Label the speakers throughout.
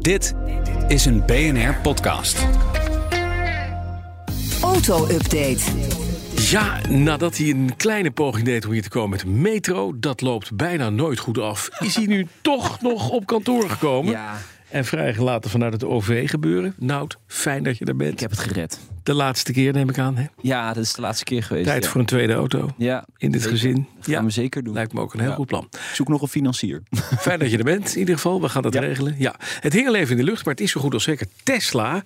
Speaker 1: Dit is een BNR-podcast.
Speaker 2: Auto-update.
Speaker 3: Ja, nadat hij een kleine poging deed om hier te komen met de metro, dat loopt bijna nooit goed af. Is hij nu toch nog op kantoor gekomen?
Speaker 4: Ja.
Speaker 3: En vrijgelaten vanuit het OV gebeuren. Nout, fijn dat je er bent.
Speaker 4: Ik heb het gered.
Speaker 3: De laatste keer neem ik aan. Hè?
Speaker 4: Ja, dat is de laatste keer geweest.
Speaker 3: Tijd
Speaker 4: ja.
Speaker 3: voor een tweede auto.
Speaker 4: Ja,
Speaker 3: In dit
Speaker 4: zeker.
Speaker 3: gezin.
Speaker 4: Dat gaan we zeker doen.
Speaker 3: Lijkt me ook een heel
Speaker 4: Ja.
Speaker 3: goed plan.
Speaker 5: Ik Zoek nog een financier.
Speaker 3: Fijn dat je er bent, in ieder geval. We gaan dat regelen. Ja. Het hing al even in de lucht, maar het is zo goed als zeker. Tesla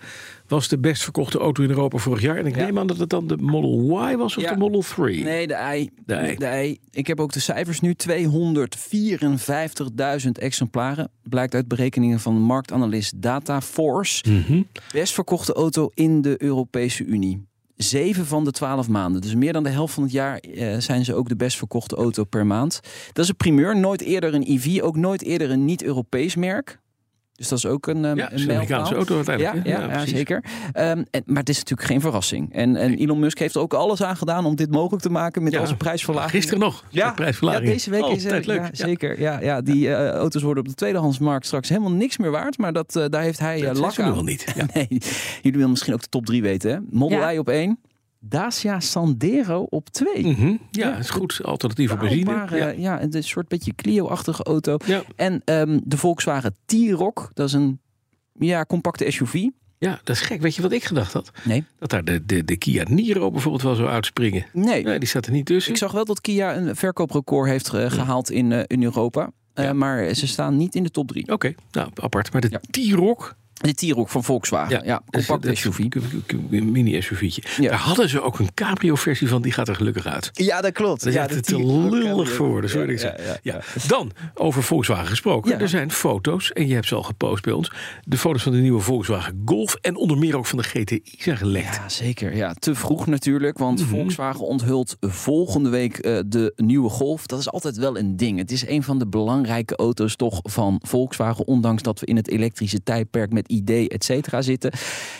Speaker 3: was de best verkochte auto in Europa vorig jaar. En ik
Speaker 4: Ja.
Speaker 3: neem aan dat het dan de Model Y was of
Speaker 4: Ja.
Speaker 3: de Model 3.
Speaker 4: Nee, de ei.
Speaker 3: De ei.
Speaker 4: Ik heb ook de cijfers nu. 254.000 exemplaren. Blijkt uit berekeningen van marktanalist Dataforce.
Speaker 3: Mhm.
Speaker 4: Best verkochte auto in de Europese Unie. Zeven van de twaalf maanden. Dus meer dan de helft van het jaar eh, zijn ze ook de best verkochte auto per maand. Dat is een primeur. Nooit eerder een EV. Ook nooit eerder een niet-Europees merk. Dus dat is ook een, eh,
Speaker 3: Ja, het is
Speaker 4: een
Speaker 3: een Amerikaanse auto
Speaker 4: mijlpaal. Ja,
Speaker 3: uiteindelijk. hè?
Speaker 4: ja, ja,
Speaker 3: precies.
Speaker 4: zeker. Ehm, en, maar het is natuurlijk geen verrassing. En, en Elon Musk heeft er ook alles aan gedaan om dit mogelijk te maken met
Speaker 3: Ja.
Speaker 4: al zijn prijsverlaging.
Speaker 3: Gisteren nog.
Speaker 4: Ja,
Speaker 3: De prijsverlaging.
Speaker 4: ja, deze week is
Speaker 3: Altijd
Speaker 4: het
Speaker 3: leuk.
Speaker 4: leuk.
Speaker 3: Ja.
Speaker 4: zeker. Ja, ja, die eh, auto's worden op de tweedehandsmarkt straks helemaal niks meer waard. Maar dat, eh, daar heeft hij eh,
Speaker 3: Dat
Speaker 4: lak
Speaker 3: zeggen we wel
Speaker 4: aan.
Speaker 3: niet. Ja.
Speaker 4: Nee, jullie willen misschien ook de top 3 weten. Hè? Model
Speaker 2: Ja.
Speaker 4: I op 1. Dacia Sandero op 2.
Speaker 3: Mhm. ja, is goed. Alternatieve benzine.
Speaker 4: Betrouwbare,
Speaker 3: Ja.
Speaker 4: eh, ja, een soort beetje Clio-achtige auto.
Speaker 3: Ja.
Speaker 4: En ehm, de Volkswagen T-Roc. Dat is een ja, compacte SUV.
Speaker 3: ja, dat is gek. Weet je wat ik gedacht had?
Speaker 4: Nee.
Speaker 3: Dat daar de, de, de Kia Niro bijvoorbeeld wel zou uitspringen.
Speaker 4: Nee,
Speaker 3: Nee, die staat er niet tussen.
Speaker 4: Ik zag wel dat Kia een verkooprecord heeft eh, gehaald in, eh, in Europa. Eh,
Speaker 3: Ja.
Speaker 4: Maar ze staan niet in de top drie.
Speaker 3: Oké, nou, apart. Maar de
Speaker 4: Ja.
Speaker 3: T-Roc,
Speaker 4: De T-Roc van Volkswagen. Ja,
Speaker 3: dat is-
Speaker 4: compact
Speaker 3: Dus dat is
Speaker 4: SUV.
Speaker 3: een k- k- Een mini-SUV'tje.
Speaker 4: Ja.
Speaker 3: Daar hadden ze ook een cabrio-versie van. Die gaat er gelukkig uit.
Speaker 4: Ja, dat klopt.
Speaker 3: Dat is echt te lullig voor woorden, sorry dat ik zeg. Ja, Dan, over Volkswagen gesproken.
Speaker 4: Ja.
Speaker 3: Er zijn foto's, en je hebt ze al gepost bij ons. De foto's van de nieuwe Volkswagen Golf en onder meer ook van de GTI zijn gelekt.
Speaker 4: Ja, zeker. Ja, te vroeg natuurlijk, want
Speaker 3: Mhm.
Speaker 4: Volkswagen onthult volgende week eh, de nieuwe Golf. Dat is altijd wel een ding. Het is een van de belangrijke auto's toch van Volkswagen, ondanks dat we in het elektrische tijdperk met ID et cetera zitten.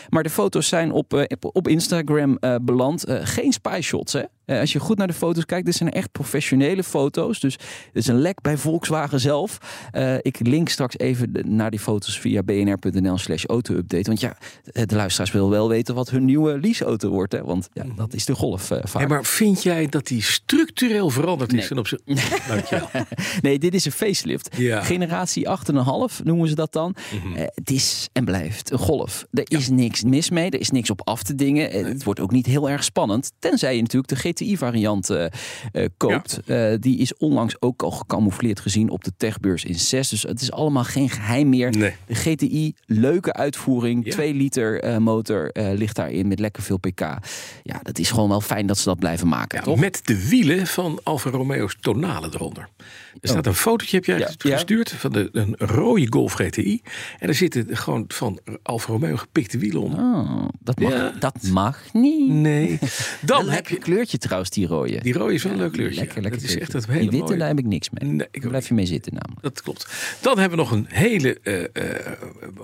Speaker 4: Maar de foto's zijn op, eh, op- op Instagram eh, beland. Eh, geen spy shots, hè? Eh, als je goed naar de foto's kijkt, dit zijn echt professionele foto's. Dus het is een lek bij Volkswagen zelf. Eh, ik link straks even de- naar die foto's via bnr.nl slash auto-update. Want ja, eh, de luisteraars wil wel weten wat hun nieuwe leaseauto wordt. Hè? Want ja, dat is de Golf eh, vaak.
Speaker 3: Hey, maar vind jij dat die structureel veranderd is
Speaker 4: Nee.
Speaker 3: ten opzichte... Dankjewel.
Speaker 4: Nee, dit is een facelift.
Speaker 3: Ja. Mhm.
Speaker 4: Generatie 8,5 noemen ze dat dan. Eh, het is en blijft een golf. Er is niks mis mee, er is niks op af te dingen. Eh, Het wordt ook niet heel erg spannend. Tenzij je natuurlijk de GTI-variant eh, eh, koopt. Eh, die is onlangs ook al gecamoufleerd gezien op de techbeurs in 6. Dus het is allemaal geen geheim meer.
Speaker 3: Nee.
Speaker 4: De GTI, leuke uitvoering.
Speaker 3: Ja.
Speaker 4: 2 liter eh, motor eh, ligt daarin met lekker veel pk. Ja, dat is gewoon wel fijn dat ze dat blijven maken,
Speaker 3: Ja,
Speaker 4: toch?
Speaker 3: met de wielen van Alfa Romeo's Tonale eronder. Er staat een fotootje, heb jij
Speaker 4: Oh. Ja, ja.
Speaker 3: gestuurd, van de, een rode Golf GTI. En er zitten gewoon van Alfa Romeo gepikte wielen onder.
Speaker 4: Oh, dat, mag,
Speaker 3: Ja.
Speaker 4: dat mag niet.
Speaker 3: Nee.
Speaker 4: Dan
Speaker 3: Dan
Speaker 4: een
Speaker 3: heb
Speaker 4: lekker
Speaker 3: je...
Speaker 4: kleurtje trouwens, die rode.
Speaker 3: Die rode is wel een leuk kleurtje.
Speaker 4: lekker,
Speaker 3: ja.
Speaker 4: lekker
Speaker 3: dat is echt
Speaker 4: kleurtje.
Speaker 3: dat hele
Speaker 4: Die witte,
Speaker 3: mooie.
Speaker 4: daar heb ik niks mee.
Speaker 3: Nee, ik
Speaker 4: daar
Speaker 3: ook
Speaker 4: blijf je mee zitten namelijk.
Speaker 3: Dat klopt. Dan hebben we nog een hele, eh, eh, eh,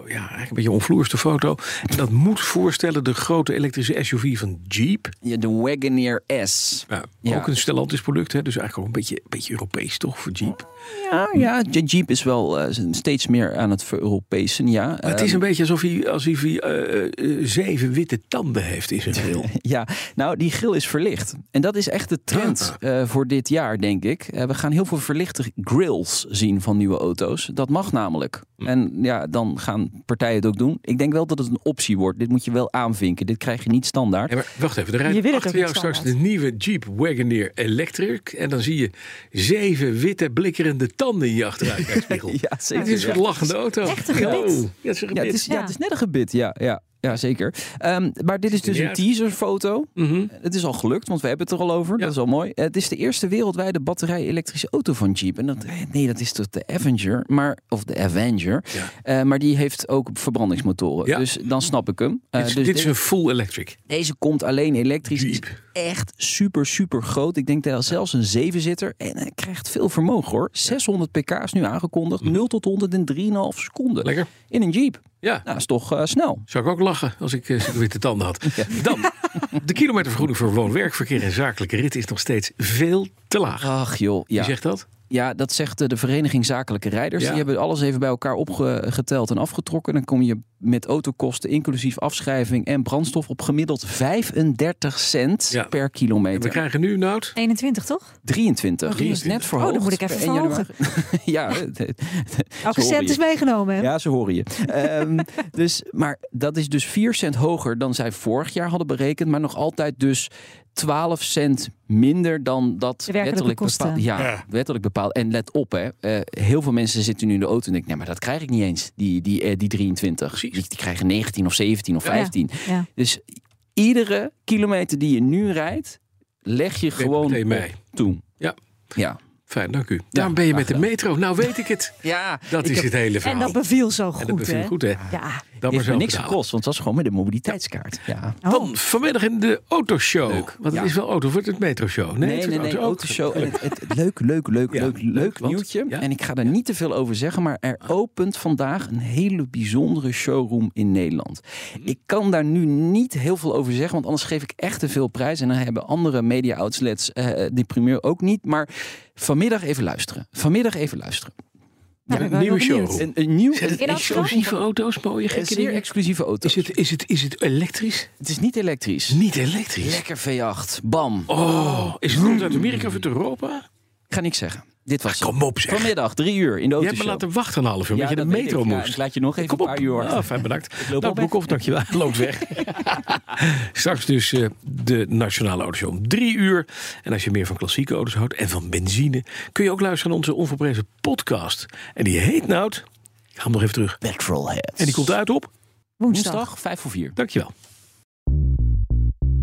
Speaker 3: ja, eigenlijk een beetje onvloerste foto. En dat moet voorstellen de grote elektrische SUV van Jeep.
Speaker 4: Ja, de Wagoneer S.
Speaker 3: Ja,
Speaker 4: Ja.
Speaker 3: Ook een Stellantis product, hè? dus eigenlijk ook een beetje, beetje Europees toch voor Jeep.
Speaker 4: Ja, ja, de Jeep is wel eh, steeds meer aan het ver-Europese, ja. Ehm,
Speaker 3: Maar het is een beetje alsof hij, alsof hij eh, eh, zeven witte tanden heeft in zijn bril.
Speaker 4: Ja, nou, die grill is verlicht. En dat is echt de trend eh, voor dit jaar, denk ik. Eh, we gaan heel veel verlichte grills zien van nieuwe auto's. Dat mag namelijk.
Speaker 3: Hm.
Speaker 4: En ja, dan gaan partijen het ook doen. Ik denk wel dat het een optie wordt. Dit moet je wel aanvinken. Dit krijg je niet standaard.
Speaker 3: Ja, maar wacht even, er
Speaker 6: Je wil
Speaker 3: rijdt
Speaker 6: het
Speaker 3: achter
Speaker 6: ook niet
Speaker 3: jou straks de
Speaker 6: standaard.
Speaker 3: nieuwe Jeep Wagoneer Electric. En dan zie je zeven witte blikkerende tanden in je achteruitkijkspiegel.
Speaker 4: Ja, zeker.
Speaker 3: Dit is een soort lachende auto.
Speaker 6: Echt een gebit.
Speaker 3: Oh, ja, het is een
Speaker 4: Ja, het
Speaker 3: gebit.
Speaker 4: is, ja.
Speaker 6: Ja.
Speaker 4: het is net een gebit, ja. ja. Ja, zeker. Ehm, maar dit is dus een
Speaker 3: Juist.
Speaker 4: teaserfoto.
Speaker 3: Mhm.
Speaker 4: Het is al gelukt, want we hebben het er al over. Dat is al mooi. Het is de eerste wereldwijde batterij-elektrische auto van Jeep. En dat, eh, nee, dat is toch de Avenger, maar, of de Avenger.
Speaker 3: Ja.
Speaker 4: Eh, maar die heeft ook verbrandingsmotoren.
Speaker 3: Ja.
Speaker 4: Dus dan snap ik hem. Eh,
Speaker 3: Dit is-
Speaker 4: dus
Speaker 3: dit is
Speaker 4: de-
Speaker 3: een full electric.
Speaker 4: deze komt alleen elektrisch. Die
Speaker 3: Jeep.
Speaker 4: Is echt super, super groot. Ik denk dat zelfs een 7-zitter. En hij krijgt veel vermogen hoor. 600 pk is nu aangekondigd. 0 tot 100 in 3,5 seconden.
Speaker 3: Mhm. Lekker.
Speaker 4: In een Jeep.
Speaker 3: Ja.
Speaker 4: Nou, dat is toch eh, snel.
Speaker 3: Zou ik ook lachen als ik eh, zulke witte tanden had. Dan, de kilometervergoeding voor woon-werkverkeer en zakelijke rit is nog steeds veel te laag.
Speaker 4: Ach joh, ja.
Speaker 3: Wie zegt dat?
Speaker 4: Ja, dat zegt eh, de Vereniging Zakelijke Rijders.
Speaker 3: Ja.
Speaker 4: Die hebben alles even bij elkaar opgeteld en afgetrokken. Dan kom je met autokosten, inclusief afschrijving en brandstof, op gemiddeld 35 cent
Speaker 3: Ja.
Speaker 4: per
Speaker 3: En we
Speaker 4: kilometer.
Speaker 3: krijgen nu, Nout,
Speaker 2: 21, toch?
Speaker 4: 23.
Speaker 2: Oh,
Speaker 4: Die is net
Speaker 3: 23.
Speaker 4: verhoogd.
Speaker 2: Oh, dan moet ik
Speaker 4: per
Speaker 2: even
Speaker 4: 1 januari. ja, het- het-
Speaker 2: Elke
Speaker 4: Sorry.
Speaker 2: cent is meegenomen. hè?
Speaker 4: ja, ze horen je. Ehm, dus, maar dat is dus 4 cent hoger dan zij vorig jaar hadden berekend. Maar nog altijd dus 12 cent minder dan dat
Speaker 2: De werkelijke
Speaker 4: wettelijk
Speaker 2: kosten.
Speaker 4: bepaald. Ja, wettelijk bepaald. En let op, hè, eh, heel veel mensen zitten nu in de auto en denken: nee, maar dat krijg ik niet eens, die, die, eh, die 23. Die,
Speaker 3: Precies.
Speaker 4: die krijgen 19 of 17 of
Speaker 2: Ja.
Speaker 4: 15.
Speaker 2: Ja.
Speaker 4: Dus iedere kilometer die je nu rijdt, leg je gewoon
Speaker 3: meteen mee.
Speaker 4: op toe.
Speaker 3: Ja.
Speaker 4: Ja.
Speaker 3: fijn, dank u. Daarom ben je met de metro. Nou weet ik het.
Speaker 4: Ja,
Speaker 3: Dat is het hele verhaal.
Speaker 2: En dat beviel zo
Speaker 3: En
Speaker 2: goed,
Speaker 3: dat beviel
Speaker 2: hè?
Speaker 3: goed, hè?
Speaker 2: Ja.
Speaker 3: Dat
Speaker 4: heeft me
Speaker 3: zo
Speaker 4: niks
Speaker 3: gedaan.
Speaker 4: gekost, want het was gewoon met een mobiliteitskaart. Ja.
Speaker 2: Oh,
Speaker 3: Dan vanmiddag in de autoshow. Want het
Speaker 4: Ja.
Speaker 3: is wel auto, wordt het metroshow? Nee, het
Speaker 4: Nee,
Speaker 3: wordt
Speaker 4: nee, nee,
Speaker 3: auto ook.
Speaker 4: autoshow. En het, het, het leuk, leuk, leuk,
Speaker 3: Ja,
Speaker 4: leuk,
Speaker 3: leuk,
Speaker 4: leuk
Speaker 3: want-
Speaker 4: nieuwtje.
Speaker 3: ja. Ah.
Speaker 4: En ik ga daar niet te veel over zeggen, maar er opent vandaag een hele bijzondere showroom in Nederland. Ik kan daar nu niet heel veel over zeggen, want anders geef ik echt te veel prijs. En dan hebben andere media outlets eh, die primeur ook niet. Maar vanmiddag even luisteren. Vanmiddag even luisteren.
Speaker 2: nou,
Speaker 3: Een
Speaker 2: ik ben
Speaker 3: nieuwe
Speaker 2: wel benieuwd.
Speaker 3: show.
Speaker 4: Een, een nieuw,
Speaker 3: Zijn het
Speaker 2: In
Speaker 4: een,
Speaker 2: Amsterdam?
Speaker 3: exclusieve auto's, mooie
Speaker 4: een
Speaker 3: gekke
Speaker 4: zeer
Speaker 3: dingen?
Speaker 4: exclusieve auto.
Speaker 3: Is
Speaker 4: Het...
Speaker 3: het, is, het, is het elektrisch?
Speaker 4: is niet elektrisch.
Speaker 3: Niet elektrisch.
Speaker 4: Lekker V8. Bam.
Speaker 3: Oh, is het komt uit Amerika of uit Europa?
Speaker 4: Ik ga niks zeggen. Dit was het.
Speaker 3: Kom op zeg.
Speaker 4: vanmiddag drie uur in de
Speaker 3: Je
Speaker 4: auto.
Speaker 3: hebt me laten wachten een half uur, omdat
Speaker 4: Ja,
Speaker 3: je de
Speaker 4: dat weet
Speaker 3: metro
Speaker 4: ik. Ja,
Speaker 3: moest.
Speaker 4: ik laat je nog even
Speaker 3: Kom
Speaker 4: een
Speaker 3: op.
Speaker 4: paar uur
Speaker 3: Ah, fijn, bedankt.
Speaker 4: loop
Speaker 3: Nou,
Speaker 4: al weg.
Speaker 3: Broekhoff, dankjewel. Loopt weg. Straks dus eh, de Nationale Autoshow om drie uur. En als je meer van klassieke auto's houdt en van benzine... kun je ook luisteren naar onze onverprezen podcast. En die heet Nout... Ik ga hem nog even terug.
Speaker 4: Petrolheads.
Speaker 3: En die komt uit op...
Speaker 2: Woensdag.
Speaker 4: woensdag vijf voor vier.
Speaker 3: Dankjewel.